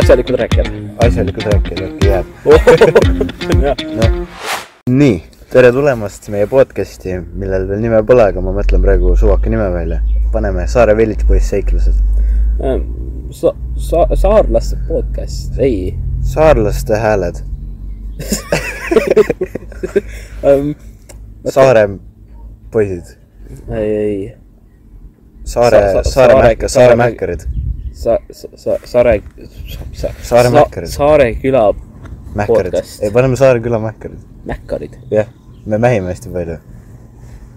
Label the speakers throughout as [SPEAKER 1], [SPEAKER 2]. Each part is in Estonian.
[SPEAKER 1] Asjalikud rääkijad .
[SPEAKER 2] asjalikud rääkijad äkki jääb . nii , tere tulemast meie podcasti , millel veel nime pole , aga ma mõtlen praegu suvaka nime välja . paneme Saare Villitpoiss seiklused .
[SPEAKER 1] Ähm, Sa- , sa- , saarlaste podcast , ei
[SPEAKER 2] saarlaste hääled ,
[SPEAKER 1] um, .
[SPEAKER 2] saare poisid ,
[SPEAKER 1] ei , ei ,
[SPEAKER 2] saare
[SPEAKER 1] Sa- , sa-
[SPEAKER 2] saare
[SPEAKER 1] saare-
[SPEAKER 2] mähka , saare
[SPEAKER 1] saare-
[SPEAKER 2] mähkarid ,
[SPEAKER 1] sa- , sa- , sa- , Saare sa, ,
[SPEAKER 2] Saare mäkkarid.
[SPEAKER 1] Saare küla
[SPEAKER 2] mähkarid
[SPEAKER 1] Podcast. .
[SPEAKER 2] ei , paneme Saare küla mähkarid .
[SPEAKER 1] mäkkarid .
[SPEAKER 2] jah , me mähime hästi palju .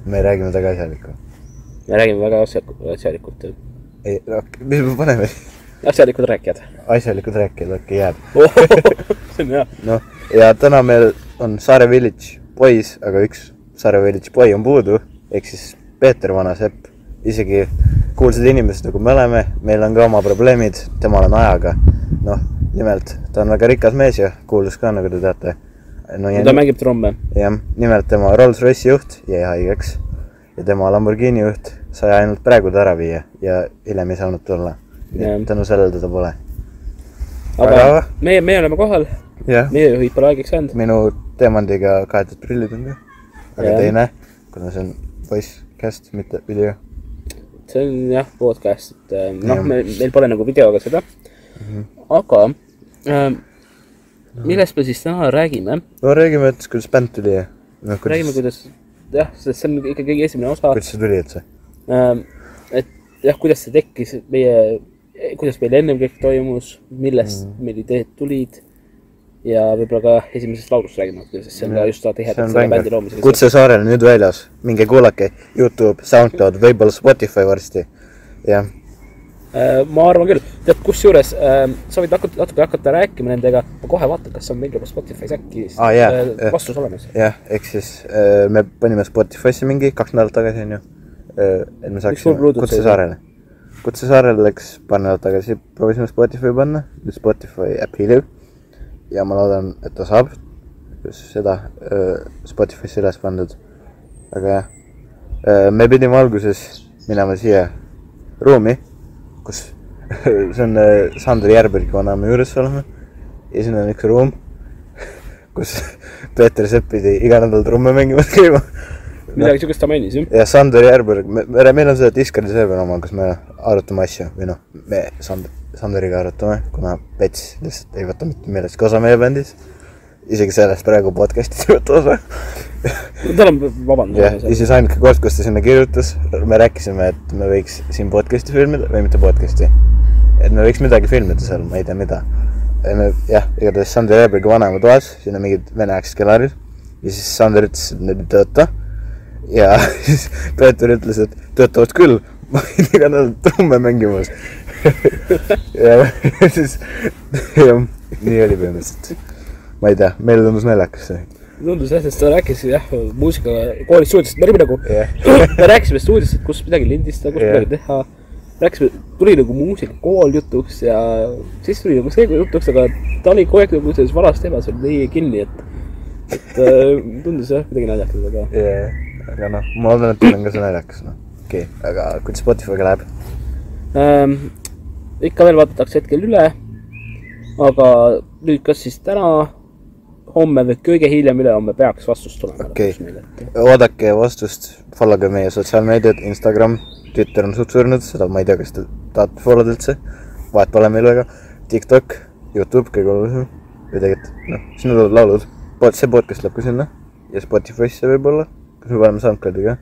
[SPEAKER 2] me räägime väga asjalikku .
[SPEAKER 1] me räägime väga asjalikult , asjalikult ,
[SPEAKER 2] ei , no mis me paneme ,
[SPEAKER 1] asjalikud rääkijad .
[SPEAKER 2] asjalikud rääkijad , okei , jääb .
[SPEAKER 1] see on hea .
[SPEAKER 2] noh , ja täna meil on Saare Village Boys , aga üks Saare Village Boy on puudu , ehk siis Peeter Vanasepp . isegi kuulsad inimesed , nagu me oleme , meil on ka oma probleemid , temal on ajaga . noh , nimelt ta on väga rikas mees ja kuulus ka , nagu te teate . no ja
[SPEAKER 1] ta mängib tromme .
[SPEAKER 2] jah , nimelt tema Rolls-Royce'i juht jäi haigeks ja tema Lamborghini juht sai ainult praegu ta ära viia ja hiljem ei saanud tulla .
[SPEAKER 1] Jah.
[SPEAKER 2] tänu sellele teda pole .
[SPEAKER 1] aga
[SPEAKER 2] Aga-
[SPEAKER 1] meie , meie oleme kohal ,
[SPEAKER 2] jah
[SPEAKER 1] meie juhid pole haigeks jäänud .
[SPEAKER 2] minu teemandiga kaetud prillid on ka , aga
[SPEAKER 1] Jah.
[SPEAKER 2] ja. teine , kuna see on voicecast , mitte video .
[SPEAKER 1] see on jah , podcast , et ähm, noh ,
[SPEAKER 2] Jah. Mhm.
[SPEAKER 1] me , meil pole nagu videoga seda mm . -hmm. aga ähm, millest me siis täna räägime ?
[SPEAKER 2] no räägime , et kuidas bänd tuli ja noh ,
[SPEAKER 1] räägime ,
[SPEAKER 2] kuidas ,
[SPEAKER 1] kuidas jah , sest see on ikka kõige esimene osa ,
[SPEAKER 2] kuidas see tuli üldse .
[SPEAKER 1] ähm, et jah , kuidas see tekkis , meie , kuidas meil ennem kõik toimus , millest mm -hmm. meil ideed tulid ja võib-olla ka esimesest laulust räägime , sest see on ka just
[SPEAKER 2] see
[SPEAKER 1] tihedalt
[SPEAKER 2] on
[SPEAKER 1] selle bändi
[SPEAKER 2] bäng
[SPEAKER 1] loomisega . seotud.
[SPEAKER 2] Kutse saarel nüüd väljas , minge kuulake Youtube , SoundCloud , võib-olla Spotify varsti . jah ,
[SPEAKER 1] Äh, ma arvan küll , tead , kusjuures äh, sa võid hakata , natuke hakata rääkima nendega , ma kohe vaatan , kas on meil juba Spotify's äkki
[SPEAKER 2] Aa, Ah, jaa,
[SPEAKER 1] äh,
[SPEAKER 2] jah.
[SPEAKER 1] vastus olemas .
[SPEAKER 2] jah , ehk siis äh, me panime Spotify'sse mingi kaks nädalat tagasi , onju . et me
[SPEAKER 1] sul
[SPEAKER 2] saaksime
[SPEAKER 1] Bluetoothi
[SPEAKER 2] Kutse
[SPEAKER 1] oli?
[SPEAKER 2] saarele . Kutse saarele läks paar nädalat tagasi , proovisime Spotify panna , nüüd Spotify äpp hiljab . ja ma loodan , et ta saab seda äh, Spotify'sse üles pandud . aga jah äh, , me pidime alguses minema siia ruumi , kus see on äh, Sandri Järbergi vanaema juures oleme ja siin on üks ruum , kus Peeter Sepp pidi iga nädal trumme mängimas käima .
[SPEAKER 1] midagi siukest ta mainis , jah .
[SPEAKER 2] ja Sander Järberg , me , me , meil on see Discordi server oma , kus me arutame asju või noh , me Sand- , Sanderiga arutame , kuna Pets lihtsalt ei võta mitte millestki osa meie bändis . isegi sellest praegu podcast'is ei võta osa .
[SPEAKER 1] tal on , vabandust
[SPEAKER 2] jah , ja . siis ainuke kord , kus ta sinna kirjutas , me rääkisime , et me võiks siin podcast'i filmida või mitte podcast'i . et me võiks midagi filmida seal , ma ei tea , mida . jah , igatahes Sander Järbergi vanaema toas , siin on mingid veneaegsed kelarid ja siis Sander ütles , et need ei tööta . ja siis Peeter ütles , et töötavad küll , ma käin iga nädal trumme mängimas . ja siis , jah , nii oli põhimõtteliselt . ma ei tea , meile tundus naljakas see .
[SPEAKER 1] tundus jah , sest ta rääkis jah , muusika koolis stuudios , me olime nagu
[SPEAKER 2] Jah.
[SPEAKER 1] me rääkisime stuudios , et kus midagi lindistada , kus
[SPEAKER 2] Jah.
[SPEAKER 1] midagi teha . rääkisime , tuli nagu muusikakool jutuks ja siis tuli nagu see jutuks , aga ta oli kogu aeg nagu selles vanas teemas oli nii kinni , et , et äh, tundus jah , midagi naljakas , aga
[SPEAKER 2] jajah , aga noh , ma loodan , et teil on ka see naljakas , noh . okei okay. , aga kuidas Spotify'ga läheb ?
[SPEAKER 1] ähm, . ikka veel vaadatakse hetkel üle . aga nüüd , kas siis täna , homme või kõige hiljem ülehomme peaks vastus tulema
[SPEAKER 2] Okei.
[SPEAKER 1] lõpuks meile , et
[SPEAKER 2] oodake vastust , follow ge meie sotsiaalmeediat , Instagram , Twitter on suht surnud , seda ma ei tea , kas te tahate follow da üldse , vahet pole meil väga . TikTok , Youtube kõige olulisem või tegelikult noh , sinna tulevad laulud , see podcast läheb ka sinna ja Spotify'sse võib-olla , kas me paneme SoundCloudi ka ?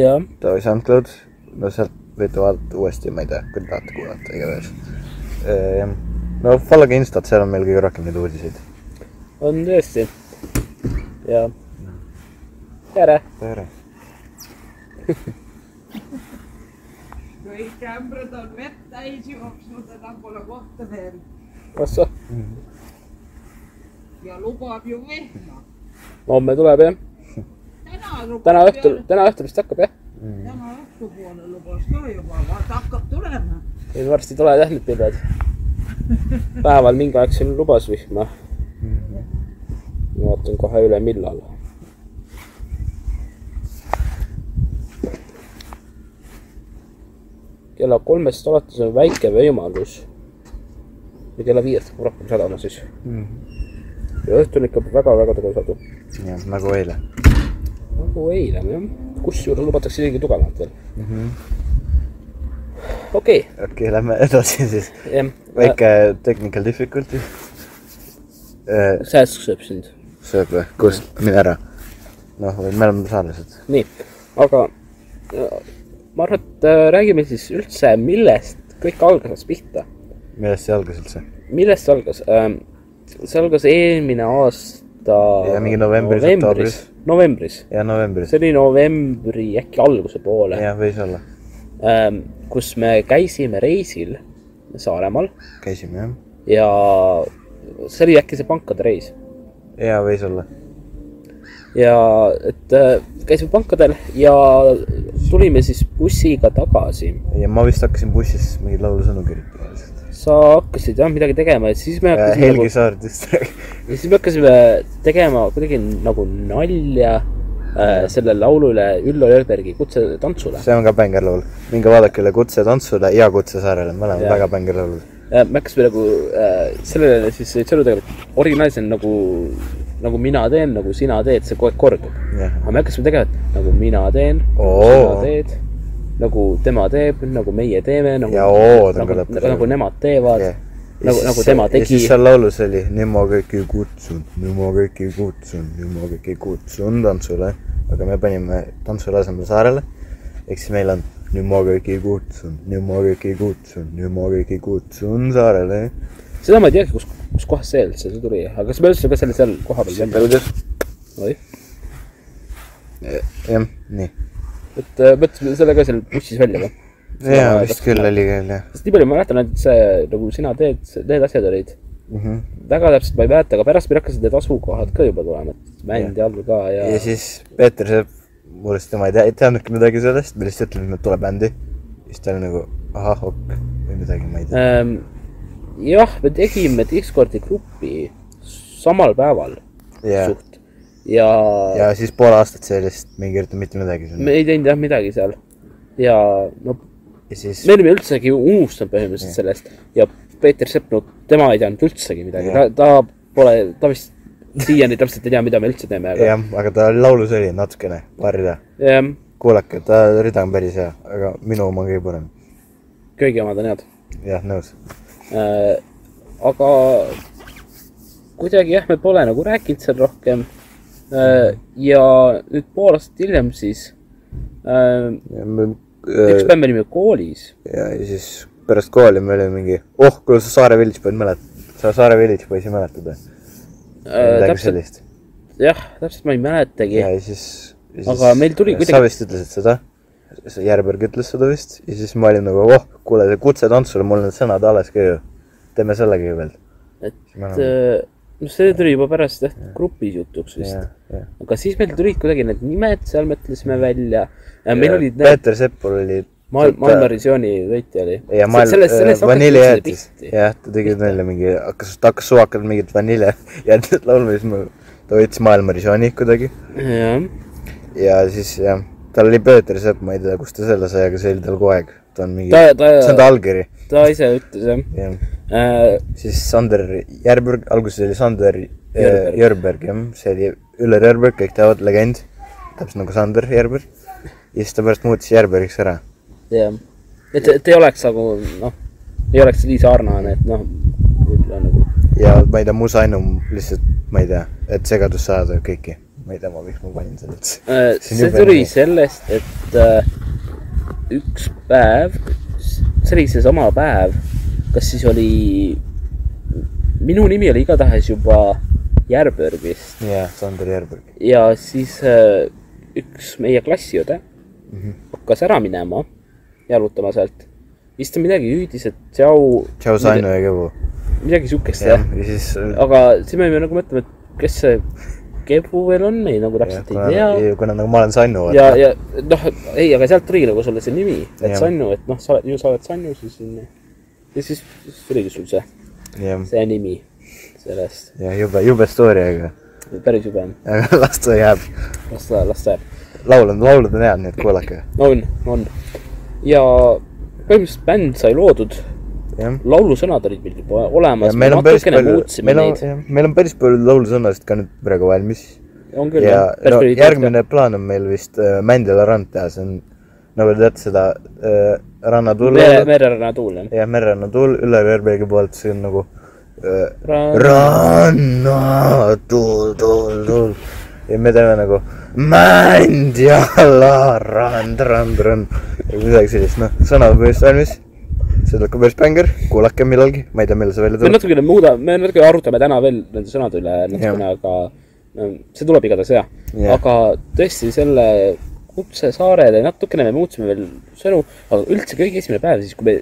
[SPEAKER 1] jah ,
[SPEAKER 2] Davai SoundCloud , no sealt võite vaadata uuesti , ma ei tea , kui te tahate kuulata , igatahes . no follow ge Instat , seal on meil kõige rohkem neid uudiseid .
[SPEAKER 1] on tõesti . ja tere .
[SPEAKER 2] tere .
[SPEAKER 3] kõik ämbrad on vett täis jooksnud ja tal pole kohta veel
[SPEAKER 1] kas sa ,
[SPEAKER 3] ja lubab ju vihma .
[SPEAKER 1] homme tuleb jah ?
[SPEAKER 3] täna lubab
[SPEAKER 1] täna õhtul , täna õhtul vist hakkab jah ?
[SPEAKER 3] täna õhtupoole lubas ka juba , vaata hakkab tulema .
[SPEAKER 1] ei varsti tulevad jah need pilved . päeval mingi aeg seal lubas vihma . ma vaatan kohe üle , millal . kella kolmest alates on väike võimalus ja kella viiest hakkab rohkem sadama siis . ja õhtul ikka väga-väga tugev sadu .
[SPEAKER 2] jah , nagu eile .
[SPEAKER 1] nagu eile jah , kusjuures lubatakse isegi tugevamat veel .
[SPEAKER 2] Mhm.
[SPEAKER 1] okei ,
[SPEAKER 2] okei okay, , lähme edasi siis .
[SPEAKER 1] jah .
[SPEAKER 2] väike technical difficulty . Äh,
[SPEAKER 1] sääsk sööb Äh, sind .
[SPEAKER 2] sööb või ? kus ? mine ära . noh , me oleme sarnased .
[SPEAKER 1] nii , aga äh, ma arvan , et äh, räägime siis üldse , millest kõik algas pihta .
[SPEAKER 2] millest see algas üldse ?
[SPEAKER 1] millest see algas ähm, ? see algas eelmine aasta .
[SPEAKER 2] Ja mingi novembris,
[SPEAKER 1] novembris , novembris ,
[SPEAKER 2] jah , novembris .
[SPEAKER 1] see oli novembri äkki alguse poole ,
[SPEAKER 2] jah , võis olla .
[SPEAKER 1] ähm, kus me käisime reisil Saaremaal
[SPEAKER 2] käisime jah .
[SPEAKER 1] ja see oli äkki see pankade reis
[SPEAKER 2] jaa , võis olla .
[SPEAKER 1] ja et äh, käisime pankadel ja tulime siis bussiga tagasi
[SPEAKER 2] ja ma vist hakkasin bussis mingeid laulusõnu kirjutama lihtsalt .
[SPEAKER 1] sa hakkasid jah midagi tegema ja siis me hakkasime
[SPEAKER 2] Helgi
[SPEAKER 1] nagu,
[SPEAKER 2] Saar distract .
[SPEAKER 1] ja siis me hakkasime tegema kuidagi nagu nalja äh, selle laulu üle Üllo Jörbergi kutsetantsule .
[SPEAKER 2] see on ka bängarlaul . minge vaadake üle Kutse tantsule ja Kutse saarele , mõlemad
[SPEAKER 1] Jah.
[SPEAKER 2] väga bängarlaulud .
[SPEAKER 1] me hakkasime nagu äh, sellele siis sõnu tegema , et originaalselt nagu , nagu mina teen , nagu sina teed , see kogu aeg kordub .
[SPEAKER 2] jah .
[SPEAKER 1] aga me hakkasime tegema , et nagu mina teen , nagu
[SPEAKER 2] Oo.
[SPEAKER 1] sina teed , nagu tema teeb , nagu meie teeme , nagu
[SPEAKER 2] Ja ood on ka
[SPEAKER 1] nagu,
[SPEAKER 2] lõpus.
[SPEAKER 1] nagu, nagu nemad teevad
[SPEAKER 2] Jah.
[SPEAKER 1] yeah. , nagu , nagu tema
[SPEAKER 2] ja siis
[SPEAKER 1] tegi .
[SPEAKER 2] seal laulus oli , nüüd ma kõiki kutsun , nüüd ma kõiki kutsun , nüüd ma kõiki kutsun tantsule . aga me panime tantsule asemel saarele . ehk siis meil on nüüd ma kõiki kutsun , nüüd ma kõiki kutsun , nüüd ma kõiki kutsun saarele .
[SPEAKER 1] seda ma ei teagi , kus , kus kohas see üldse see tuli , aga kas me üldse ka selle seal koha peal teeme ?
[SPEAKER 2] kuidas ?
[SPEAKER 1] oih ,
[SPEAKER 2] jah , nii .
[SPEAKER 1] et äh, mõtlesime selle ka seal bussis välja või ?
[SPEAKER 2] jaa , vist küll . oli küll jah
[SPEAKER 1] sest nii palju ma mäletan , et see nagu sina teed , need asjad olid ,
[SPEAKER 2] mm . -hmm.
[SPEAKER 1] väga täpselt ma ei mäleta , aga pärast meil hakkasid need asukohad ka juba tulema , et mändi all ka ja,
[SPEAKER 2] ja
[SPEAKER 1] ja .
[SPEAKER 2] siis Peeter Sepp , mulle ütles , tema ei tea , ei teadnudki midagi sellest , ma lihtsalt ütlen , et tuleb bändi . siis ta oli nagu ahah , ok , või midagi , ma ei tea .
[SPEAKER 1] Ähm, jah , me tegime Discordi grupi samal päeval
[SPEAKER 2] ja ,
[SPEAKER 1] suht ja, ja
[SPEAKER 2] ja siis pool aastat see lihtsalt , me ei kirjutanud mitte midagi sinna
[SPEAKER 1] me ei teinud jah midagi seal ja no
[SPEAKER 2] ja siis
[SPEAKER 1] me olime üldsegi unustanud põhimõtteliselt sellest ja Peeter Sepp , no tema ei teadnud üldsegi midagi , ta
[SPEAKER 2] Jah. ,
[SPEAKER 1] ta pole , ta vist siiani täpselt ei tea , mida me üldse teeme , aga ehm,
[SPEAKER 2] jah , aga ta laulus oli natukene , paar rida .
[SPEAKER 1] jah ,
[SPEAKER 2] kuulake , ta rida on päris hea , aga minu oma on kõige parem .
[SPEAKER 1] köögi omad on head .
[SPEAKER 2] jah , nõus .
[SPEAKER 1] Äh, aga kuidagi jah , me pole nagu rääkinud seal rohkem . ja nüüd pool aastat hiljem siis , üks
[SPEAKER 2] ja ,
[SPEAKER 1] päev me olime koolis ,
[SPEAKER 2] ja siis pärast kooli me olime mingi , oh , kuule sa Saare Village Boy'd mäletad , sa Saare Village Boy'si mäletad või ? midagi
[SPEAKER 1] Äh, täpselt
[SPEAKER 2] sellist .
[SPEAKER 1] jah , täpselt ma ei mäletagi
[SPEAKER 2] ja , siis, ja siis
[SPEAKER 1] Aga meil tuli kuidagi-
[SPEAKER 2] sa vist ütlesid seda , see Järberg ütles seda vist ja siis ma olin nagu , oh , kuule , see kutsetantsul , mul need sõnad alles ka ju . teeme selle kõigepealt .
[SPEAKER 1] et
[SPEAKER 2] Ma enam-
[SPEAKER 1] äh, no see tuli juba pärast jah , grupis jutuks vist
[SPEAKER 2] ja , ja .
[SPEAKER 1] aga siis meil tulid kuidagi need nimed , seal mõtlesime välja . meil ja, olid need
[SPEAKER 2] Peeter Seppol oli
[SPEAKER 1] maailm , maailmavisiooni võitja oli .
[SPEAKER 2] ja maailm , vaniljejäätis , äh, jah , ta tegi neile mingi , hakkas , ta hakkas suvakalt mingit vaniljejäätist laulma , siis ma , ta võttis maailmavisiooni kuidagi
[SPEAKER 1] jah ,
[SPEAKER 2] ja siis jah , tal oli Peeter Sepp , ma ei tea , kust ta selle sai , aga see oli tal kogu aeg , ta on mingi ,
[SPEAKER 1] ta ,
[SPEAKER 2] see on ta
[SPEAKER 1] ta ,
[SPEAKER 2] allkiri ,
[SPEAKER 1] ta ise ütles jah
[SPEAKER 2] jah .
[SPEAKER 1] äh, .
[SPEAKER 2] siis Sander Järberg , alguses oli Sander
[SPEAKER 1] Jörberg.
[SPEAKER 2] Jörberg, Jörberg , jah , see oli Üller Järberg , kõik teavad , legend , täpselt nagu Sander Järberg . ja siis ta pärast muutis Järbergiks ära ,
[SPEAKER 1] jah , et , et ei oleks nagu noh , ei oleks nii sarnane , et noh , võib-olla nagu
[SPEAKER 2] ja ma ei tea , mu sainum lihtsalt , ma ei tea , et segadust saada kõiki . ma ei tea , ma miks ma panin selle üldse .
[SPEAKER 1] äh, .
[SPEAKER 2] See on
[SPEAKER 1] see
[SPEAKER 2] jube nagu-
[SPEAKER 1] tuli
[SPEAKER 2] nii.
[SPEAKER 1] sellest , et äh, üks päev , see oli seesama päev , kas siis oli , minu nimi oli igatahes juba Järbergist .
[SPEAKER 2] jaa , Sander Järberg .
[SPEAKER 1] ja siis äh, üks meie klassiõde mm
[SPEAKER 2] Mhm.
[SPEAKER 1] -hmm. hakkas ära minema , jalutama sealt , siis ta midagi hüüdis , et tšau ,
[SPEAKER 2] tšau , Sainu ja Kevu .
[SPEAKER 1] midagi siukest
[SPEAKER 2] jah
[SPEAKER 1] jah ,,
[SPEAKER 2] ja siis .
[SPEAKER 1] aga siis me jäime nagu mõtlema , et kes see Kebu veel on , me nagu täpselt ei tea
[SPEAKER 2] kuna nagu ma olen Sainu ,
[SPEAKER 1] ja , ja noh , ei , aga sealt tuli nagu sulle see nimi , et
[SPEAKER 2] Jah.
[SPEAKER 1] Sannu , et noh , sa oled ju , sa oled Sannu siis on ju . ja siis siis tuligi sul see ,
[SPEAKER 2] jah ,
[SPEAKER 1] see nimi sellest ,
[SPEAKER 2] ja jube , jube story , aga ,
[SPEAKER 1] päris jube on ,
[SPEAKER 2] aga las ta jääb .
[SPEAKER 1] las ta , las ta jääb .
[SPEAKER 2] laul on , laulud on head , nii et kuulake .
[SPEAKER 1] on , on . ja põhimõtteliselt bänd sai loodud
[SPEAKER 2] jah .
[SPEAKER 1] laulusõnad olid meil juba olemas , me
[SPEAKER 2] meil on päris
[SPEAKER 1] natukene
[SPEAKER 2] palju ,
[SPEAKER 1] muutsime
[SPEAKER 2] meil on
[SPEAKER 1] neid .,
[SPEAKER 2] meil on päris palju laulusõnasid ka nüüd praegu valmis .
[SPEAKER 1] on küll ,
[SPEAKER 2] ja
[SPEAKER 1] jah .
[SPEAKER 2] no, järgmine plaan on meil vist äh, Mändjala rand teha , see on , nagu te teate seda äh, rannatuul ,
[SPEAKER 1] mere , mereranna tuul , jah .
[SPEAKER 2] jah , mererannatuul üle Verbergi poolt , see on nagu äh,
[SPEAKER 1] Ra-
[SPEAKER 2] ranna tuul , tuul , tuul . ja me teeme nagu Mändjala rand , rand , rand . midagi sellist , noh , sõna on päris valmis . see tuleb ka päris bängar , kuulake millalgi , ma ei tea , millal see välja
[SPEAKER 1] me
[SPEAKER 2] tuleb .
[SPEAKER 1] natukene muuda- , me natuke arutame täna veel nende sõnade üle natukene , aga ähm, see tuleb igatahes hea
[SPEAKER 2] Jah. .
[SPEAKER 1] aga tõesti selle kutsesaarele natukene me muutsime veel sõnu , aga üldse kõige esimene päev siis , kui me ,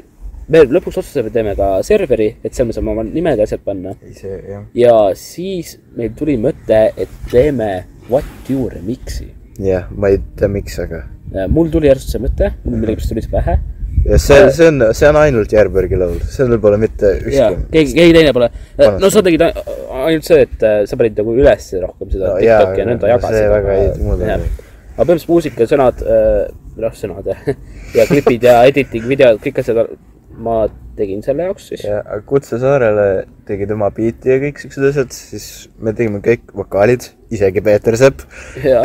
[SPEAKER 1] me lõpuks otsustasime , teeme ka serveri , et seal me saame oma nimed ja asjad panna .
[SPEAKER 2] ei , see jah .
[SPEAKER 1] ja siis meil tuli mõte , et teeme What You Remix'i .
[SPEAKER 2] jah , ma ei tea , miks , aga .
[SPEAKER 1] mul tuli järsku see mõte , mul millegipärast tuli see pähe
[SPEAKER 2] ja see , see on , see on ainult Järbergi laul , sellel pole mitte
[SPEAKER 1] ja
[SPEAKER 2] ükski .
[SPEAKER 1] keegi , keegi teine pole . no
[SPEAKER 2] Panustan.
[SPEAKER 1] sa tegid ai- ainult see , et äh, sa panid nagu üles rohkem seda
[SPEAKER 2] No
[SPEAKER 1] no,
[SPEAKER 2] jaa,
[SPEAKER 1] TikTok'i ja
[SPEAKER 2] aga
[SPEAKER 1] nõnda jagasid .
[SPEAKER 2] see väga ei- mulle ei meeldi.
[SPEAKER 1] aga põhimõtteliselt muusikasõnad , noh sõnad jah , ja klipid ja editing , videod , kõik asjad , ma tegin selle jaoks siis .
[SPEAKER 2] ja Kutsesaarele tegi tema biiti ja kõik siuksed asjad , siis me tegime kõik vokaalid , isegi Peeter Sepp .
[SPEAKER 1] ja ,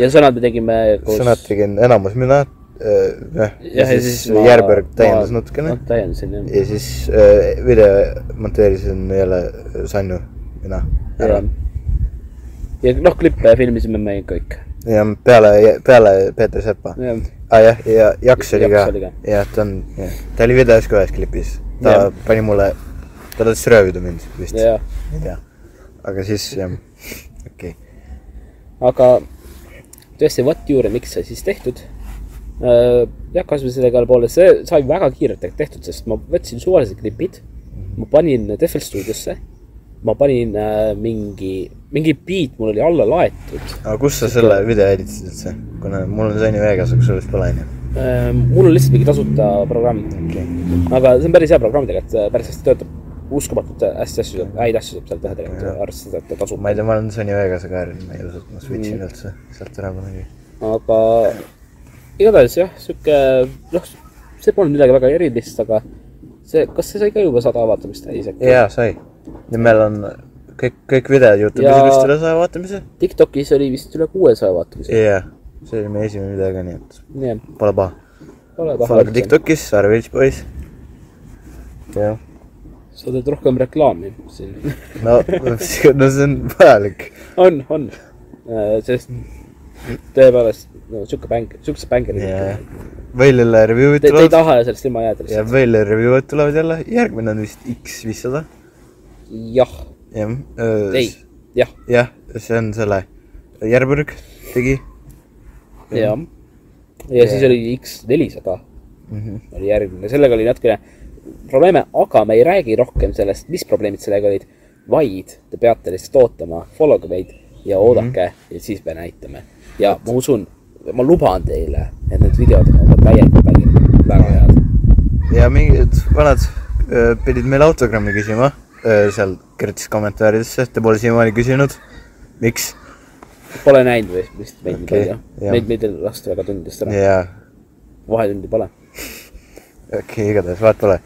[SPEAKER 1] ja sõnad me tegime
[SPEAKER 2] sõnad
[SPEAKER 1] koos .
[SPEAKER 2] tegin enamus mina äh, , jah , ja siis
[SPEAKER 1] ma-
[SPEAKER 2] Järberg täiendas
[SPEAKER 1] ma-
[SPEAKER 2] natukene
[SPEAKER 1] noh, täiendasin jah .
[SPEAKER 2] ja siis äh, video monteerisin jälle Sanju , mina .
[SPEAKER 1] ja, ja noh , klippe filmisime me kõik .
[SPEAKER 2] ja peale , peale Peeter Seppa .
[SPEAKER 1] jah ,
[SPEAKER 2] aa jah , ja Jaks oli
[SPEAKER 1] Jaks
[SPEAKER 2] ka
[SPEAKER 1] oli ka. ,
[SPEAKER 2] jah , ta on , ta oli videos ka ühes klipis , ta ja.
[SPEAKER 1] Jah.
[SPEAKER 2] pani mulle , ta tahtis röövida mind vist ,
[SPEAKER 1] jah
[SPEAKER 2] ei tea . aga siis jah , okei okay. ,
[SPEAKER 1] aga tõesti , What You Remix sai siis tehtud . jah , kasvõi selle igale poole , see sai väga kiirelt tehtud , sest ma võtsin suvalised klipid , ma panin need FL stuudiosse , ma panin äh, mingi , mingi beat mul oli alla laetud .
[SPEAKER 2] aga kus sa selle video editasid üldse , kuna mul on Sony Vegas , aga sul vist pole onju ,
[SPEAKER 1] Äh, mul on lihtsalt mingi tasuta programm ,
[SPEAKER 2] okei
[SPEAKER 1] aga see on päris hea programm tegelikult , päris hästi töötab , uskumatult äh, hästi asju saab , häid asju saab seal teha
[SPEAKER 2] Jah.
[SPEAKER 1] tegelikult , arvestades , et ta tasub .
[SPEAKER 2] ma ei tea , ma olen Sony Vegasega harjunud , ma ei usu , et ma switch in üldse sealt ära kunagi .
[SPEAKER 1] aga igatahes jah , sihuke noh , see polnud midagi väga erilist , aga see , kas see sai ka juba sada vaatamist täis äkki ?
[SPEAKER 2] jaa , sai . ja meil on kõik , kõik videod Youtube'is
[SPEAKER 1] Ja-
[SPEAKER 2] ja... vist üle saja vaatamise .
[SPEAKER 1] Tiktokis oli vist üle kuuesaja vaatamist .
[SPEAKER 2] jaa , see oli meie esimene video ka , nii et
[SPEAKER 1] nii ,
[SPEAKER 2] pole paha .
[SPEAKER 1] ole
[SPEAKER 2] Follow
[SPEAKER 1] paha
[SPEAKER 2] ka . Tiktokis , Sarve Village Boys . jah ,
[SPEAKER 1] sa teed rohkem reklaami siin .
[SPEAKER 2] no , no see on vajalik .
[SPEAKER 1] on , on , sest tõepoolest no, sihuke bäng , sihukese bängeri
[SPEAKER 2] ja
[SPEAKER 1] yeah. .
[SPEAKER 2] Veilile review'id
[SPEAKER 1] Te, te ei
[SPEAKER 2] tulevad .
[SPEAKER 1] taha sellest ilma jääda
[SPEAKER 2] ja
[SPEAKER 1] lihtsalt ?
[SPEAKER 2] Veilile review'id tulevad jälle , järgmine on vist X viissada .
[SPEAKER 1] jah ,
[SPEAKER 2] jah .
[SPEAKER 1] ei , jah ,
[SPEAKER 2] jah , see on selle , Järberg tegi
[SPEAKER 1] jah . ja siis oli X nelisada
[SPEAKER 2] mm . -hmm.
[SPEAKER 1] oli järgmine , sellega oli natukene probleeme , aga me ei räägi rohkem sellest , mis probleemid sellega olid , vaid te peate lihtsalt ootama , follow ge meid ja
[SPEAKER 2] Mhm.
[SPEAKER 1] oodake mm -hmm. ja siis me näitame . ja ma usun , ma luban teile , et need videod on täiega päris väga head .
[SPEAKER 2] ja mingid vanad öö, pidid meile autogrammi küsima öö, seal kirjutas kommentaaridesse , te pole siiamaani küsinud . miks ?
[SPEAKER 1] Pole näinud või vist meid okay,
[SPEAKER 2] Okei,
[SPEAKER 1] midagi ,
[SPEAKER 2] jah.
[SPEAKER 1] meid , meid ei lasta väga tundidest ära ,
[SPEAKER 2] jaa ,
[SPEAKER 1] vahetundi pole .
[SPEAKER 2] okei okay, , igatahes vahet pole .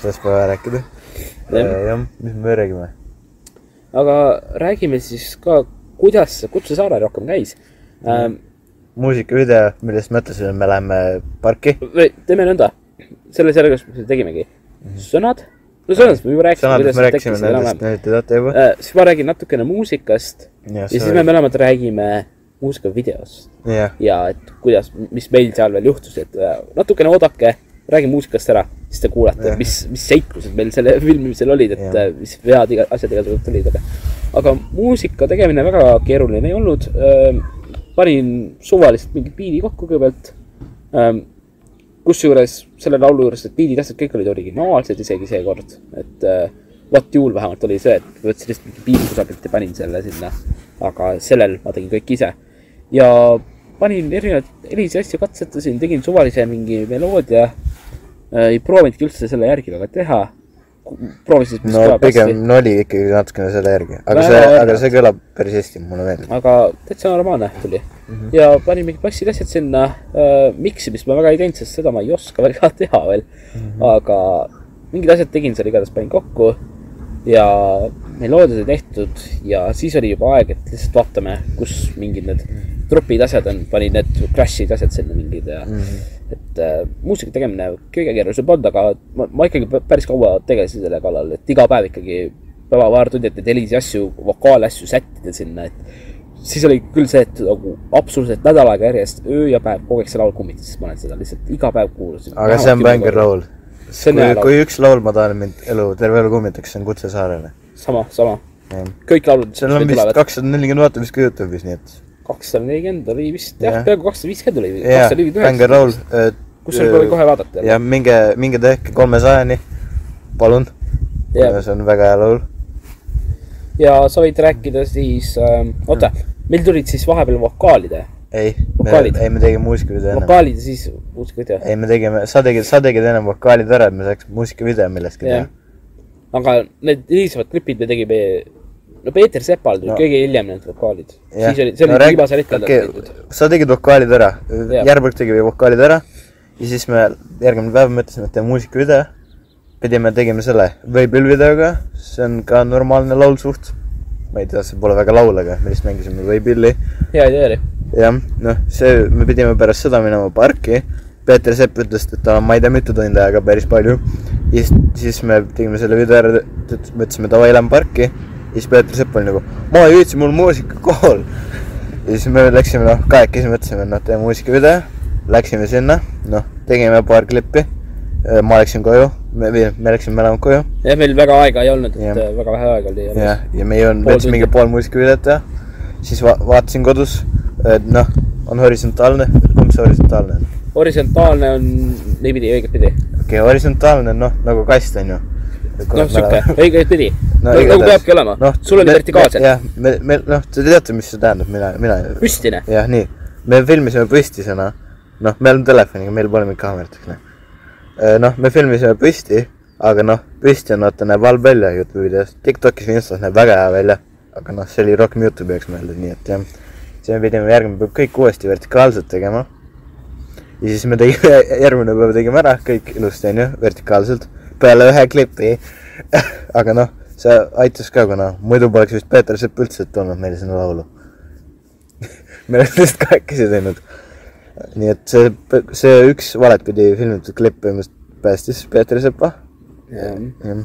[SPEAKER 2] sellest pole vaja rääkida .
[SPEAKER 1] Jah.
[SPEAKER 2] jah , mis me räägime ?
[SPEAKER 1] aga räägime siis ka , kuidas see Kutsesaare rohkem käis
[SPEAKER 2] Mhm.
[SPEAKER 1] ähm, .
[SPEAKER 2] muusikavideo , millest ma ütlesin , et me läheme parki .
[SPEAKER 1] või teeme nõnda , selles järjekorras me seda tegimegi . sõnad , no sõnadest me juba rääkisime ,
[SPEAKER 2] sõnadest me
[SPEAKER 1] need
[SPEAKER 2] rääkisime ,
[SPEAKER 1] tekkisid
[SPEAKER 2] nendest
[SPEAKER 1] enam-vähem .
[SPEAKER 2] nüüd te teate juba .
[SPEAKER 1] Äh, siis ma räägin natukene muusikast ja,
[SPEAKER 2] Jah,
[SPEAKER 1] ja siis
[SPEAKER 2] sorry.
[SPEAKER 1] me mõlemad räägime muusikavideost
[SPEAKER 2] jah ,
[SPEAKER 1] ja et kuidas , mis meil seal veel juhtus , et äh, natukene oodake , räägin muusikast ära , siis te kuulete
[SPEAKER 2] Jah. ,
[SPEAKER 1] mis , mis seiklused meil selle filmimisel olid , et
[SPEAKER 2] Jah.
[SPEAKER 1] äh, mis vead iga , asjad igasugused tulid , aga aga muusika tegemine väga keeruline ei olnud . panin suvaliselt mingi biidi kokku kõigepealt . kusjuures selle laulu juures need biidid , asjad kõik olid originaalsed isegi seekord , et äh, What You'll vähemalt oli see , et võtsin lihtsalt mingi biidi kusagilt ja panin selle sinna . aga sellel ma tegin kõik ise ja panin erinevaid helisi asju , katsetasin , tegin suvalise mingi meloodia . ei proovinudki üldse selle järgi väga teha . proovisin , mis
[SPEAKER 2] no
[SPEAKER 1] kõlab hästi
[SPEAKER 2] pigem oli ikkagi natukene selle järgi , aga
[SPEAKER 1] Väga
[SPEAKER 2] see , aga
[SPEAKER 1] erinev.
[SPEAKER 2] see kõlab päris hästi , mulle meeldib .
[SPEAKER 1] aga täitsa normaalne tuli mm .
[SPEAKER 2] Mhm.
[SPEAKER 1] -hmm. ja panin mingid bassid asjad
[SPEAKER 2] Mhm.
[SPEAKER 1] sinna äh, . miksimist ma väga ei teinud , sest seda ma ei oska väga teha veel mm . -hmm. aga mingid asjad tegin seal igatahes , panin kokku ja meloodiad ei tehtud ja siis oli juba aeg , et lihtsalt vaatame , kus mingid need
[SPEAKER 2] Mhm.
[SPEAKER 1] trupid , asjad on , panin need crash'id , asjad sinna mingid ja mm
[SPEAKER 2] Mhm.
[SPEAKER 1] -hmm. et äh, muusika tegemine kõige keerulisem polnud , aga ma, ma ikkagi pä- päris kaua tegelesin selle kallal , et iga päev ikkagi päeva-paar tundi , et neid helisi asju , vokaalasju sättida sinna , et siis oli küll see , et nagu absoluutselt nädal aega järjest öö ja päev kogu aeg see laul kummitas , siis ma olen seda lihtsalt iga päev kuulasin .
[SPEAKER 2] aga see on bängar . laul .
[SPEAKER 1] see on
[SPEAKER 2] kui
[SPEAKER 1] hea , laul ,
[SPEAKER 2] kui üks laul ma tahan mind elu , terve elu kummitaks , see on Kutse saarele .
[SPEAKER 1] sama , sama .
[SPEAKER 2] Jah.
[SPEAKER 1] kõik laulud .
[SPEAKER 2] seal on vist kakssada nelikümmend vaatamist ka Youtube'is , nii et
[SPEAKER 1] kakssada nelikümmend oli vist jah
[SPEAKER 2] Jah.
[SPEAKER 1] yeah. , peaaegu kakssada viiskümmend oli ,
[SPEAKER 2] jaa
[SPEAKER 1] kakssada , nelikümmend
[SPEAKER 2] bängar
[SPEAKER 1] üheksa ,
[SPEAKER 2] laul . äh,
[SPEAKER 1] kus oli kohe , kohe vaadata
[SPEAKER 2] ja minge , minge tehke kolmesajani , palun .
[SPEAKER 1] Jah.
[SPEAKER 2] see on väga hea laul .
[SPEAKER 1] ja sa võid rääkida siis ähm, , oota , meil tulid siis vahepeal vokaalid ,
[SPEAKER 2] ei ,
[SPEAKER 1] Vokaalid.
[SPEAKER 2] ei me tegime muusikavideo ennem .
[SPEAKER 1] vokaalid ja siis muusikavideo
[SPEAKER 2] ei , me tegime , sa tegid , sa tegid ennem vokaalid ära , et me saaks muusikavideo millestki
[SPEAKER 1] jah
[SPEAKER 2] teha ..
[SPEAKER 1] aga need hilisemad klipid me tegime , no Peeter Sepal tuli
[SPEAKER 2] No.
[SPEAKER 1] no. kõige hiljem need vokaalid . siis oli , see oli no, viimasel hetkel okay. tehtud ..
[SPEAKER 2] sa tegid vokaalid ära ,
[SPEAKER 1] Jah.
[SPEAKER 2] Järvik tegi vokaalid ära ja siis me järgmine päev mõtlesime , et teeme muusikavideo . pidime , tegime selle Veebil videoga , see on ka normaalne laul suht . ma ei tea , see pole väga laul , aga me lihtsalt mängisime Veebilli .
[SPEAKER 1] hea idee oli .
[SPEAKER 2] jah , noh , see , me pidime pärast seda minema parki . Peeter Sepp ütles , et tal on , ma ei tea , mitu tundi aega , päris palju . ja siis , siis me tegime selle video ära , me ütlesime davai , lähme parki . ja siis Peeter Sepp oli nagu , ma ei viitsi , mul muusika kohal . ja siis me läksime , noh , kahekesi mõtlesime , noh , teeme muusikavideo . Läksime sinna , noh , tegime paar klippi . ma läksin koju , me , me läksime mõlemad koju
[SPEAKER 1] jah , meil väga aega ei olnud , et
[SPEAKER 2] Jah.
[SPEAKER 1] yeah. väga vähe aega oli .
[SPEAKER 2] jah , ja me ei olnud ,
[SPEAKER 1] Pool
[SPEAKER 2] võtsime mingi
[SPEAKER 1] tundi.
[SPEAKER 2] pool muusikavideot ja siis va vaatasin kodus , et noh , on horisontaalne , kumb see horisontaalne on ?
[SPEAKER 1] horisontaalne on niipidi , õigetpidi .
[SPEAKER 2] okei okay, , horisontaalne on noh , nagu kast on ju .
[SPEAKER 1] noh , sihuke , õigetpidi .
[SPEAKER 2] No
[SPEAKER 1] no nagu
[SPEAKER 2] igatahes. Noh,
[SPEAKER 1] peabki olema no, . sul oli vertikaalselt ,
[SPEAKER 2] jah , me , me , noh , te teate , mis see tähendab , mina , mina .
[SPEAKER 1] püstine .
[SPEAKER 2] jah , nii , me filmisime püstisena , noh , me oleme telefoniga , meil pole mingit kaamerat , eks noh . noh , me filmisime püsti , aga noh , püsti on vaata , näeb halb välja Youtube'i videos , Tiktokis või Instas näeb väga hea välja , aga noh , see oli rohkem Youtube'i jaoks mõeldud , nii et jah , siis me pidime järgmine päev kõik uuesti vertikaalselt tegema . ja siis me tegime , järgmine päev tegime ära kõik ilusti , onju , vertikaalselt , peale ühe klipi . aga noh , see aitas ka , kuna muidu poleks vist Peeter Sepp üldse tulnud meile sinna laulu . me oleks lihtsalt kahekesi teinud . nii et see , see üks valetpidi filmitud klipp põhimõtteliselt päästis Peeter Sepa . jah .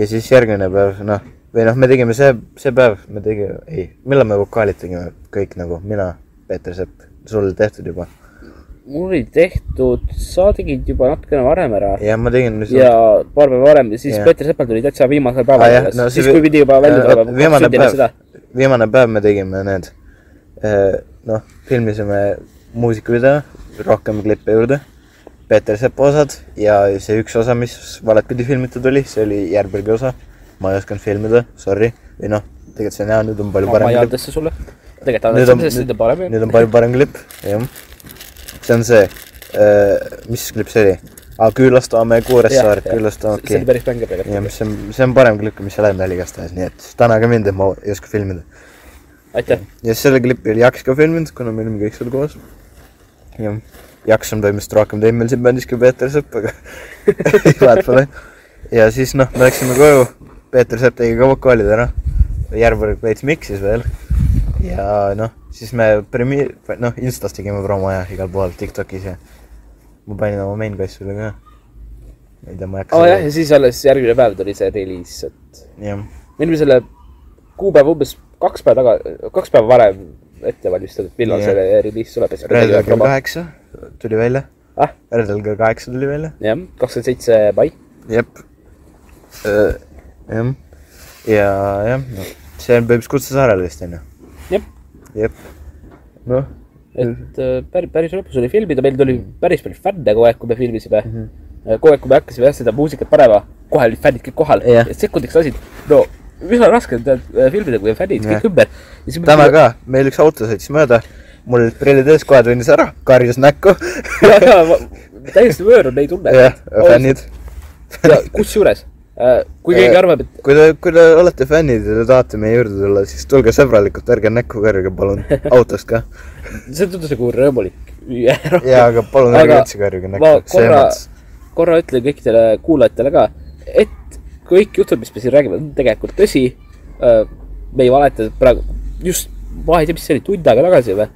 [SPEAKER 2] ja siis järgmine päev , noh , või noh , me tegime see , see päev , me tegime , ei , millal me vokaalid tegime kõik nagu , mina , Peeter Sepp , sul oli tehtud juba .
[SPEAKER 1] mul oli tehtud , sa tegid juba natukene varem ära
[SPEAKER 2] ja ma tegin nüüd
[SPEAKER 1] ja paar päeva varem , siis
[SPEAKER 2] Jah.
[SPEAKER 1] yeah. Peeter Sepal tuli täitsa viimasel
[SPEAKER 2] Ah,
[SPEAKER 1] päeval
[SPEAKER 2] jah,
[SPEAKER 1] ah,
[SPEAKER 2] no
[SPEAKER 1] no, ,
[SPEAKER 2] see
[SPEAKER 1] siis
[SPEAKER 2] vi-
[SPEAKER 1] kui pidi juba välja
[SPEAKER 2] no,
[SPEAKER 1] tulema .
[SPEAKER 2] viimane päev. viimane päev me tegime need , noh , filmisime muusikavideo , rohkem klippe juurde , Peeter Sepa osad ja see üks osa , mis valetpidi filmitud oli , see oli Järbergi osa . ma ei osanud filmida , sorry , või noh , tegelikult see on hea , nüüd on palju
[SPEAKER 1] ma
[SPEAKER 2] parem
[SPEAKER 1] ei
[SPEAKER 2] klipp ,
[SPEAKER 1] andesta sulle . tegelikult
[SPEAKER 2] Nüüd on-
[SPEAKER 1] andestab , sest
[SPEAKER 2] nüüd-
[SPEAKER 1] nüüd on parem ju .
[SPEAKER 2] nüüd on palju parem klipp , jah . see on see , mis klipp see oli ? Ah, aa , Küülastame Kuressaaret , Küülastame ,
[SPEAKER 1] see
[SPEAKER 2] okei
[SPEAKER 1] oli päris bänge praegu .
[SPEAKER 2] jah , see on , see on parem klipp , kui mis seal enne oli igastahes , nii et täna ka mind , ma ei oska filmida .
[SPEAKER 1] aitäh .
[SPEAKER 2] ja selle klippi oli Jaks ka filminud , kuna me olime kõik seal koos . jah , Jaks on põhimõtteliselt rohkem teinud meil siin bändis kui Peeter Sepp , aga vahet pole . ja siis noh , me läksime koju , Peeter Sepp tegi ka vokaalid ära , Järvberg veits miksis veel ja noh , siis me premi- , noh , Instas tegime promo ja igal pool , Tiktokis ja ma panin oma main kassile ka . ma ei tea , ma ei hakka
[SPEAKER 1] aa jah , ja siis alles järgmine päev tuli see reliis , et
[SPEAKER 2] jah ,
[SPEAKER 1] me olime selle kuupäeva umbes kaks päeva taga , kaks päeva varem ette valmistatud , millal
[SPEAKER 2] Jah.
[SPEAKER 1] yeah. see reliis tuleb .
[SPEAKER 2] reedel kell kaheksa tuli välja ,
[SPEAKER 1] ah ,
[SPEAKER 2] reedel kell kaheksa tuli välja .
[SPEAKER 1] jah , kakskümmend seitse mai .
[SPEAKER 2] jep . jah , ja jah , noh , see on põhimõtteliselt Kutsesaarel vist onju .
[SPEAKER 1] jah ,
[SPEAKER 2] jep , noh ,
[SPEAKER 1] et äh, päris , päris lõpus oli filmida , meil
[SPEAKER 2] Mhm.
[SPEAKER 1] tuli päris palju fänne kogu aeg , kui me filmisime mm . -hmm. kogu aeg , kui me hakkasime jah seda muusikat panema , kohe olid fännid kõik kohal
[SPEAKER 2] Jah.
[SPEAKER 1] ja sekundiks lasid , no üsna raske on tead äh, filmida , kui on fännid
[SPEAKER 2] Jah.
[SPEAKER 1] kõik ümber .
[SPEAKER 2] täna . ka , meil üks auto sõitis mööda , mul olid prillid ees , kohe tundis ära , karjus näkku .
[SPEAKER 1] täiesti võõr on neid tunne .
[SPEAKER 2] jah , fännid .
[SPEAKER 1] kusjuures , kui
[SPEAKER 2] Eh.
[SPEAKER 1] keegi arvab , et
[SPEAKER 2] kui te , kui te olete fännid ja te tahate meie juurde tulla , siis tulge sõbralikult , ärge näkku karjuge palun , autost ka .
[SPEAKER 1] see tundus nagu rõõmulik .
[SPEAKER 2] jaa , aga palun ärge
[SPEAKER 1] Aga
[SPEAKER 2] üldse karjuge
[SPEAKER 1] ma
[SPEAKER 2] näkku , see
[SPEAKER 1] korra-
[SPEAKER 2] emats .
[SPEAKER 1] korra ütlen kõikidele kuulajatele ka , et kõik jutud , mis me siin räägime , on tegelikult tõsi . me ei valeta praegu , just , ma ei tea , mis see oli , tund aega tagasi või ,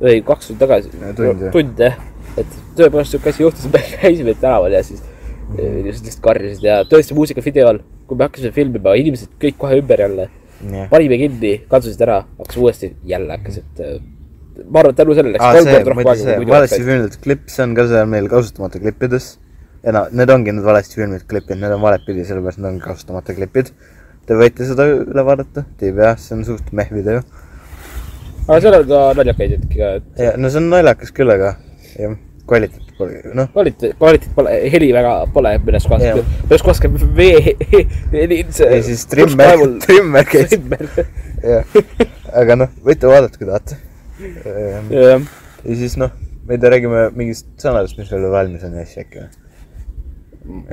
[SPEAKER 1] või kaks tundi tagasi
[SPEAKER 2] Ja, tund, jah.
[SPEAKER 1] tund jah , et tõepoolest sihuke asi juhtus , me käisime tänaval ja siis
[SPEAKER 2] Mhm.
[SPEAKER 1] inimesed lihtsalt karjusid ja tõesti muusikavideol , kui me hakkasime filmima , inimesed kõik kohe ümber jälle
[SPEAKER 2] Jah.
[SPEAKER 1] panime kinni , katsusid ära , hakkas uuesti , jälle hakkas , et äh, ma arvan , et tänu sellele läks
[SPEAKER 2] aa ,
[SPEAKER 1] kolm
[SPEAKER 2] see ,
[SPEAKER 1] korda rohkem
[SPEAKER 2] muide see
[SPEAKER 1] aega kui
[SPEAKER 2] valesti
[SPEAKER 1] muidu .
[SPEAKER 2] filmitud klipp , see on ka seal meil kasutamata klippides . ja noh , need ongi need valesti filmitud klipid , need on valet pidi , sellepärast need ongi kasutamata klipid . Te võite seda üle vaadata , te ei pea , see on suht meh video .
[SPEAKER 1] aga seal on ka naljakaid hetki ka , et
[SPEAKER 2] ja no see on naljakas küll , aga jah , kvaliteet pole , noh ,
[SPEAKER 1] kvaliteet , kvaliteet pole , heli väga pole mõnes kohas
[SPEAKER 2] Jah. ,
[SPEAKER 1] mõnes kohas käib vee , heli .
[SPEAKER 2] ja siis trimmer , trimmer käis , jah . aga noh , võite vaadata , kui tahate . ja
[SPEAKER 1] jah ,
[SPEAKER 2] siis noh , me ei tea , räägime mingist sõnadest , mis veel valmis on ja asju äkki või ?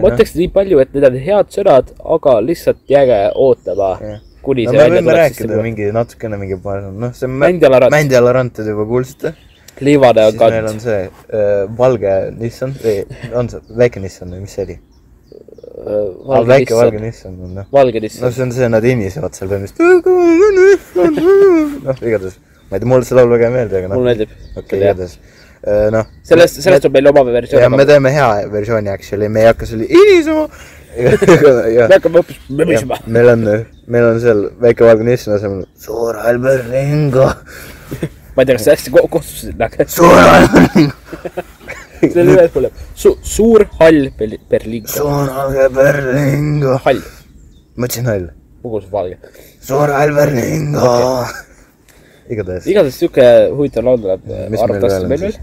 [SPEAKER 1] ma ütleks nii palju , et need on head sõnad , aga lihtsalt jääge ootama , kuni
[SPEAKER 2] no
[SPEAKER 1] see
[SPEAKER 2] me
[SPEAKER 1] välja
[SPEAKER 2] võime
[SPEAKER 1] tuleb ,
[SPEAKER 2] rääkida
[SPEAKER 1] siis
[SPEAKER 2] mingi natukene mingi paar sõna , noh see on
[SPEAKER 1] Mändjala rand.
[SPEAKER 2] Mändjala rand te juba kuulsite .
[SPEAKER 1] liivane
[SPEAKER 2] siis
[SPEAKER 1] on
[SPEAKER 2] meil on
[SPEAKER 1] kand ,
[SPEAKER 2] see äh, valge Nissan või on see väike Nissan või mis see oli ? väike valge
[SPEAKER 1] valge ,
[SPEAKER 2] Nissan on noh .
[SPEAKER 1] valge
[SPEAKER 2] no
[SPEAKER 1] lihtsalt ,
[SPEAKER 2] see on see , nad hinisevad seal põhimõtteliselt . noh , igatahes , ma ei tea , mulle see laul väga ei meeldi , aga
[SPEAKER 1] mulle
[SPEAKER 2] noh ,
[SPEAKER 1] meeldib .
[SPEAKER 2] okei , igataves . noh .
[SPEAKER 1] sellest , sellest on meil oma
[SPEAKER 2] ja
[SPEAKER 1] versioon
[SPEAKER 2] me . teeme hea versiooni , actually , me ei hakka selle hinisema . ja
[SPEAKER 1] me hakkame hoopis mömisema
[SPEAKER 2] Jah, . meil on , meil on seal väike valge Nissan asemel suur Albert Ringo ,
[SPEAKER 1] ma ei tea , kas see hästi ko- kohtus , aga
[SPEAKER 2] suur Albert Ringo ,
[SPEAKER 1] selle nime tuleb su- , suur hall Berli- , Berliin ,
[SPEAKER 2] suur Albert Ringo .
[SPEAKER 1] hall ,
[SPEAKER 2] ma ütlesin hall ,
[SPEAKER 1] kogus valge .
[SPEAKER 2] suur Albert Ringo . igatahes ,
[SPEAKER 1] igatahes sihuke huvitav laul tuleb
[SPEAKER 2] Mis
[SPEAKER 1] äh,
[SPEAKER 2] meil
[SPEAKER 1] arvatavasti
[SPEAKER 2] veel on
[SPEAKER 1] meil
[SPEAKER 2] siis?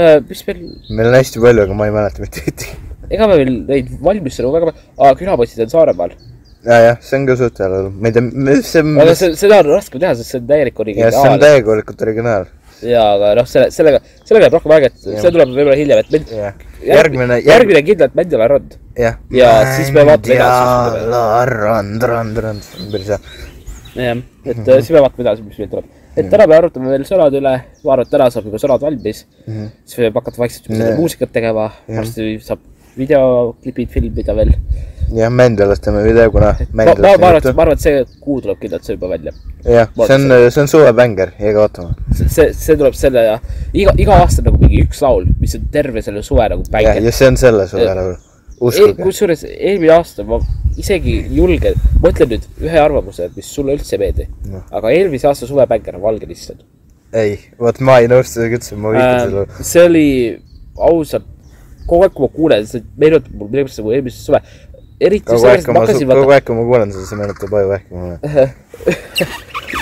[SPEAKER 1] veel . mis meil ,
[SPEAKER 2] meil on hästi palju , aga ma ei mäleta mitte ühtegi .
[SPEAKER 1] ega meil neid valmis sõnu väga palju , aa , külapotsid on Saaremaal .
[SPEAKER 2] ja , Ah, jah , see on ka suht hea laul , ma ei tea , see
[SPEAKER 1] aga
[SPEAKER 2] on ,
[SPEAKER 1] see , seda on raske teha , sest see on täielik
[SPEAKER 2] jah , see on
[SPEAKER 1] originaal .
[SPEAKER 2] täielikult originaal .
[SPEAKER 1] jaa , aga noh , selle , sellega , sellega jääb rohkem aega , et
[SPEAKER 2] Jah.
[SPEAKER 1] see tuleb võib-olla hiljem , et meil
[SPEAKER 2] jah , järgmine , järgmine ,
[SPEAKER 1] järgmine on kindlalt Mändjala rand .
[SPEAKER 2] jah .
[SPEAKER 1] ja siis me vaatame edasi.
[SPEAKER 2] edasi . rand , rand , rand , päris hea .
[SPEAKER 1] jah , et
[SPEAKER 2] Mhm.
[SPEAKER 1] äh, siis me vaatame edasi , mis meil tuleb . et täna me arutame veel sõnad üle , ma arvan , et täna saab juba sõnad valmis mm .
[SPEAKER 2] Mhm.
[SPEAKER 1] -hmm. siis võib hakata vaikselt
[SPEAKER 2] Nee.
[SPEAKER 1] muusikat tegema , varsti saab videoklipid filmida veel .
[SPEAKER 2] jah , Mändjalast teeme video , kuna
[SPEAKER 1] ma , ma , ma arvan ,
[SPEAKER 2] juttu-
[SPEAKER 1] et , ma arvan , et see kuu tuleb kindlalt see juba välja .
[SPEAKER 2] jah ,
[SPEAKER 1] Vaata
[SPEAKER 2] see on , see on suvebänger , jääge ootama .
[SPEAKER 1] see , see tuleb selle ja iga , iga aasta nagu mingi üks laul , mis on terve selle suve nagu
[SPEAKER 2] ja ,
[SPEAKER 1] päike
[SPEAKER 2] ja . see on selle suve
[SPEAKER 1] Eh,
[SPEAKER 2] laul .
[SPEAKER 1] E,
[SPEAKER 2] uskuge .
[SPEAKER 1] kusjuures eelmine aasta ma isegi julgen , ma ütlen nüüd ühe arvamuse , mis sulle üldse ei meeldi
[SPEAKER 2] Noh. .
[SPEAKER 1] aga eelmise aasta suvepänker on Valge lihtsalt .
[SPEAKER 2] ei , vot ma ei nõustu sellega üldse , ma vihkan
[SPEAKER 1] Äh,
[SPEAKER 2] seda laulu .
[SPEAKER 1] see oli ausalt , kogu aeg , kui ma kuulen , see meenutab mul millegipärast nagu eelmist suve . eriti
[SPEAKER 2] kogu aeg ,
[SPEAKER 1] sellest ,
[SPEAKER 2] kui
[SPEAKER 1] ma
[SPEAKER 2] ma ,
[SPEAKER 1] hakkasin
[SPEAKER 2] kogu
[SPEAKER 1] vaata ,
[SPEAKER 2] aeg , kui ma kuulen seda , see meenutab aju vähki mulle .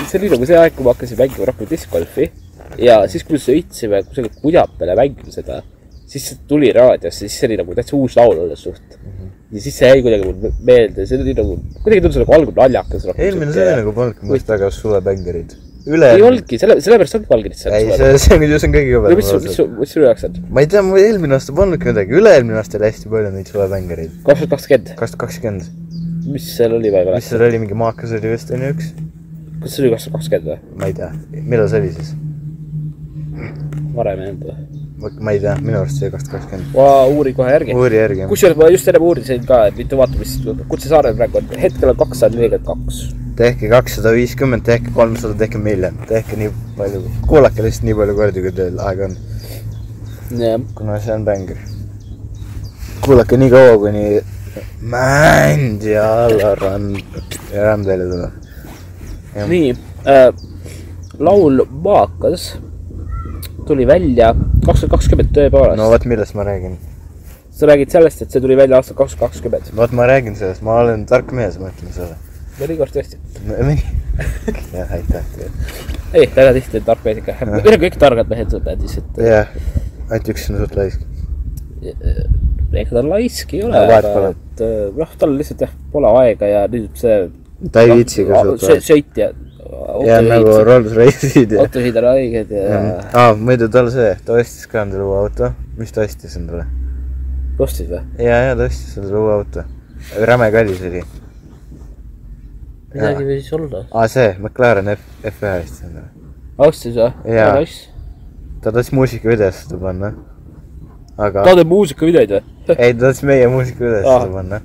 [SPEAKER 1] see oli nagu see aeg , kui ma hakkasin mängima rohkem discgolfi ja siis , kui me sõitsime kusagil Kudjapeale mängima seda , siis see tuli raadiosse , siis see oli nagu täitsa uus laul olles suht .
[SPEAKER 2] Mhm.
[SPEAKER 1] ja siis see jäi kuidagi mul meelde , see oli nagu , kuidagi tundus nagu algul naljakas .
[SPEAKER 2] eelmine suvi nagu polnudki muust väga suvebängerid . üle .
[SPEAKER 1] ei olnudki , selle , sellepärast ongi Valge lihtsalt
[SPEAKER 2] ei ,
[SPEAKER 1] suvel .
[SPEAKER 2] see , nagu- see on , see on kõige
[SPEAKER 1] või mis ,
[SPEAKER 2] kõvem
[SPEAKER 1] mis , mis sinu jaoks on ?
[SPEAKER 2] ma ei tea , mul eelmine aasta polnudki midagi , üle-eelmine aasta oli hästi palju neid suvebängereid .
[SPEAKER 1] kaks tuhat kakskümmend ,
[SPEAKER 2] kaks tuhat kakskümmend ,
[SPEAKER 1] mis seal oli , ma ei
[SPEAKER 2] mis
[SPEAKER 1] mäleta .
[SPEAKER 2] seal oli , mingi maakas oli vist onju üks ,
[SPEAKER 1] kas see oli kaks tuhat kakskümmend või ?
[SPEAKER 2] ma ei tea , millal see oli siis ?
[SPEAKER 1] varem ei olnud või ?
[SPEAKER 2] ma ei tea , minu arust see oli kaks tuhat kakskümmend .
[SPEAKER 1] ma uurin kohe järgi .
[SPEAKER 2] uuri järgi .
[SPEAKER 1] kusjuures ma just ennem uurisin ka , et mitu vaatamist Kutsesaarel praegu on , hetkel on kakssada nelikümmend kaks .
[SPEAKER 2] tehke kakssada viiskümmend , tehke kolmsada , tehke miljon , tehke nii palju , kuulake lihtsalt nii palju kordi , kui teil aega on ,
[SPEAKER 1] jah ,
[SPEAKER 2] kuna see on bäng . kuulake nii kaua , kuni mänd ja alarand , rand välja tuleb . Jah.
[SPEAKER 1] nii äh, . laul Maakas tuli välja kaks tuhat kakskümmend tõepoolest no, .
[SPEAKER 2] no vot , millest ma räägin ,
[SPEAKER 1] sa räägid sellest , et see tuli välja aastal kaks tuhat kakskümmend .
[SPEAKER 2] vot ma räägin sellest , ma olen tark mees , ma ütlen sulle .
[SPEAKER 1] mõnikord tõesti .
[SPEAKER 2] jah , aitäh teile .
[SPEAKER 1] ei , väga tihti on tark mees ikka . meil on kõik targad mehed sõbrad , et
[SPEAKER 2] jah , ainult üks on suht laisk .
[SPEAKER 1] ega ta laisk ei ole
[SPEAKER 2] No
[SPEAKER 1] no, ,
[SPEAKER 2] vahet
[SPEAKER 1] aga
[SPEAKER 2] pole.
[SPEAKER 1] et äh, noh , tal lihtsalt jah , pole aega ja nüüd see .
[SPEAKER 2] ta ei viitsi ka suht
[SPEAKER 1] suht .
[SPEAKER 2] laisk .
[SPEAKER 1] sõit ja .
[SPEAKER 2] ja nagu Rolls Royce'id ja
[SPEAKER 1] autosid on haiged ja
[SPEAKER 2] aa , muidu tal see , ta ostis ka endale uue auto , mis ta ostis endale ?
[SPEAKER 1] ostsid või ?
[SPEAKER 2] ja , ja ta ostis endale uue auto , räme kallis oli .
[SPEAKER 1] midagi võis olla .
[SPEAKER 2] aa , see McLaren F , F1 ostis endale .
[SPEAKER 1] ostsid või ?
[SPEAKER 2] Jaa. ta tahtis muusikavideosse seda panna , aga
[SPEAKER 1] ta Ah. teeb muusikavideoid või ?
[SPEAKER 2] ei , ta tahtis meie muusika üles
[SPEAKER 1] Aa.
[SPEAKER 2] seda panna .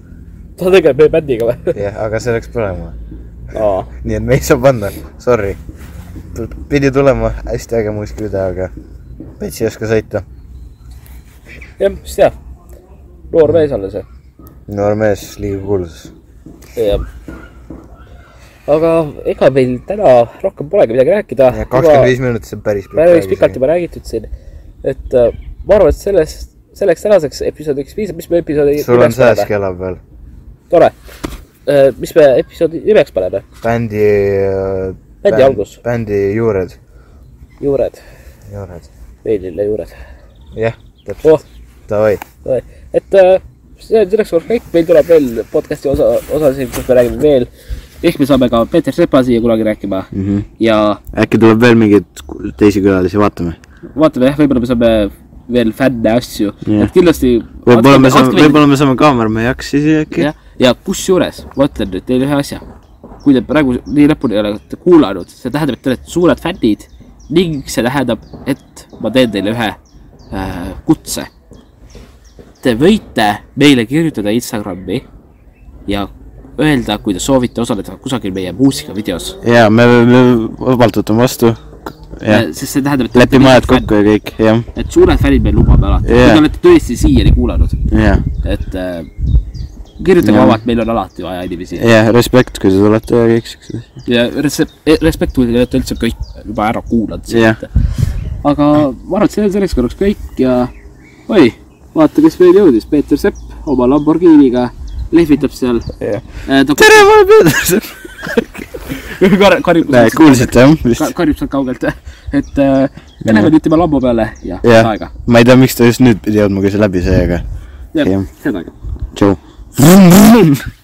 [SPEAKER 1] ta tegeleb meie bändiga või ?
[SPEAKER 2] jah , aga see läks põlema .
[SPEAKER 1] aa ,
[SPEAKER 2] nii et me ei saa panna , sorry . pidi tulema hästi äge muusikavideo , aga Pets ei oska sõita .
[SPEAKER 1] jah , mis teab . noor mees alles jah.
[SPEAKER 2] noor mees , liiga kuulsus .
[SPEAKER 1] jah . aga ega meil täna rohkem polegi midagi rääkida .
[SPEAKER 2] kakskümmend viis minutit , see on päris pikk
[SPEAKER 1] päris pikalt . juba räägitud siin , et äh, ma arvan , et sellest , selleks tänaseks episoodiks piisab , mis me episoodi
[SPEAKER 2] sul on sääsk ? kella peal .
[SPEAKER 1] tore . mis me episoodi nimeks paneme ?
[SPEAKER 2] bändi .
[SPEAKER 1] Bändi algus.
[SPEAKER 2] bändi juured .
[SPEAKER 1] juured ,
[SPEAKER 2] juured .
[SPEAKER 1] Veilille juured .
[SPEAKER 2] jah , täpselt .
[SPEAKER 1] oh ,
[SPEAKER 2] Davai ,
[SPEAKER 1] et äh, see on selleks korraks kõik , meil tuleb veel podcast'i osa , osa siin , kus me räägime veel . ehk me saame ka Peeter Sepa siia kunagi rääkima mm
[SPEAKER 2] Mhm.
[SPEAKER 1] ja
[SPEAKER 2] äkki tuleb veel mingeid teisi külalisi , vaatame .
[SPEAKER 1] vaatame jah , võib-olla me saame veel fänne asju
[SPEAKER 2] Jah.
[SPEAKER 1] yeah. , et kindlasti .
[SPEAKER 2] võib-olla me saame , võib-olla me saame kaamerameejaks siis äkki .
[SPEAKER 1] jah , ja kusjuures ma ütlen nüüd teile ühe asja . kui te praegu nii lõpuni ei ole kuulanud , see tähendab , et te olete suured fännid ning see tähendab , et ma teen teile ühe äh, kutse . Te võite meile kirjutada Instagrami ja öelda , kui te soovite osaleda kusagil meie muusikavideos ,
[SPEAKER 2] ja me , me vabalt võtame vastu . jah ,
[SPEAKER 1] sest see tähendab , et
[SPEAKER 2] lepime ajad . kokku ja kõik , jah ,
[SPEAKER 1] et suured fännid me lubame alati yeah. ,
[SPEAKER 2] Jaa.
[SPEAKER 1] kui te olete tõesti siiani kuulanud ,
[SPEAKER 2] jah ,
[SPEAKER 1] et äh, kirjutage
[SPEAKER 2] Jaa.
[SPEAKER 1] vabalt , meil on alati vaja inimesi .
[SPEAKER 2] jah , respekt , kui te tulete ja kõik siuksed asjad .
[SPEAKER 1] ja retsep- , respekt , kui te olete üldse kõik juba ära kuulanud
[SPEAKER 2] Jah. .
[SPEAKER 1] aga ma arvan , et see on selleks korraks kõik ja oi , vaata , kes veel jõudis , Peeter Sepp oma Lamborghiniga lehvitab seal . äh, ta
[SPEAKER 2] tere , ma olen Peeter .
[SPEAKER 1] kar- , karjub
[SPEAKER 2] näe , kuulsite jah ,
[SPEAKER 1] ka-
[SPEAKER 2] vist ?
[SPEAKER 1] karjub sealt kaugelt , et äh, me läheme nüüd tema lambo peale ja head
[SPEAKER 2] jah
[SPEAKER 1] aega .,
[SPEAKER 2] ma ei tea , miks ta just nüüd pidi jõudma , kui see läbi sai , aga
[SPEAKER 1] jah
[SPEAKER 2] Jah. ,
[SPEAKER 1] head aega .
[SPEAKER 2] tšau .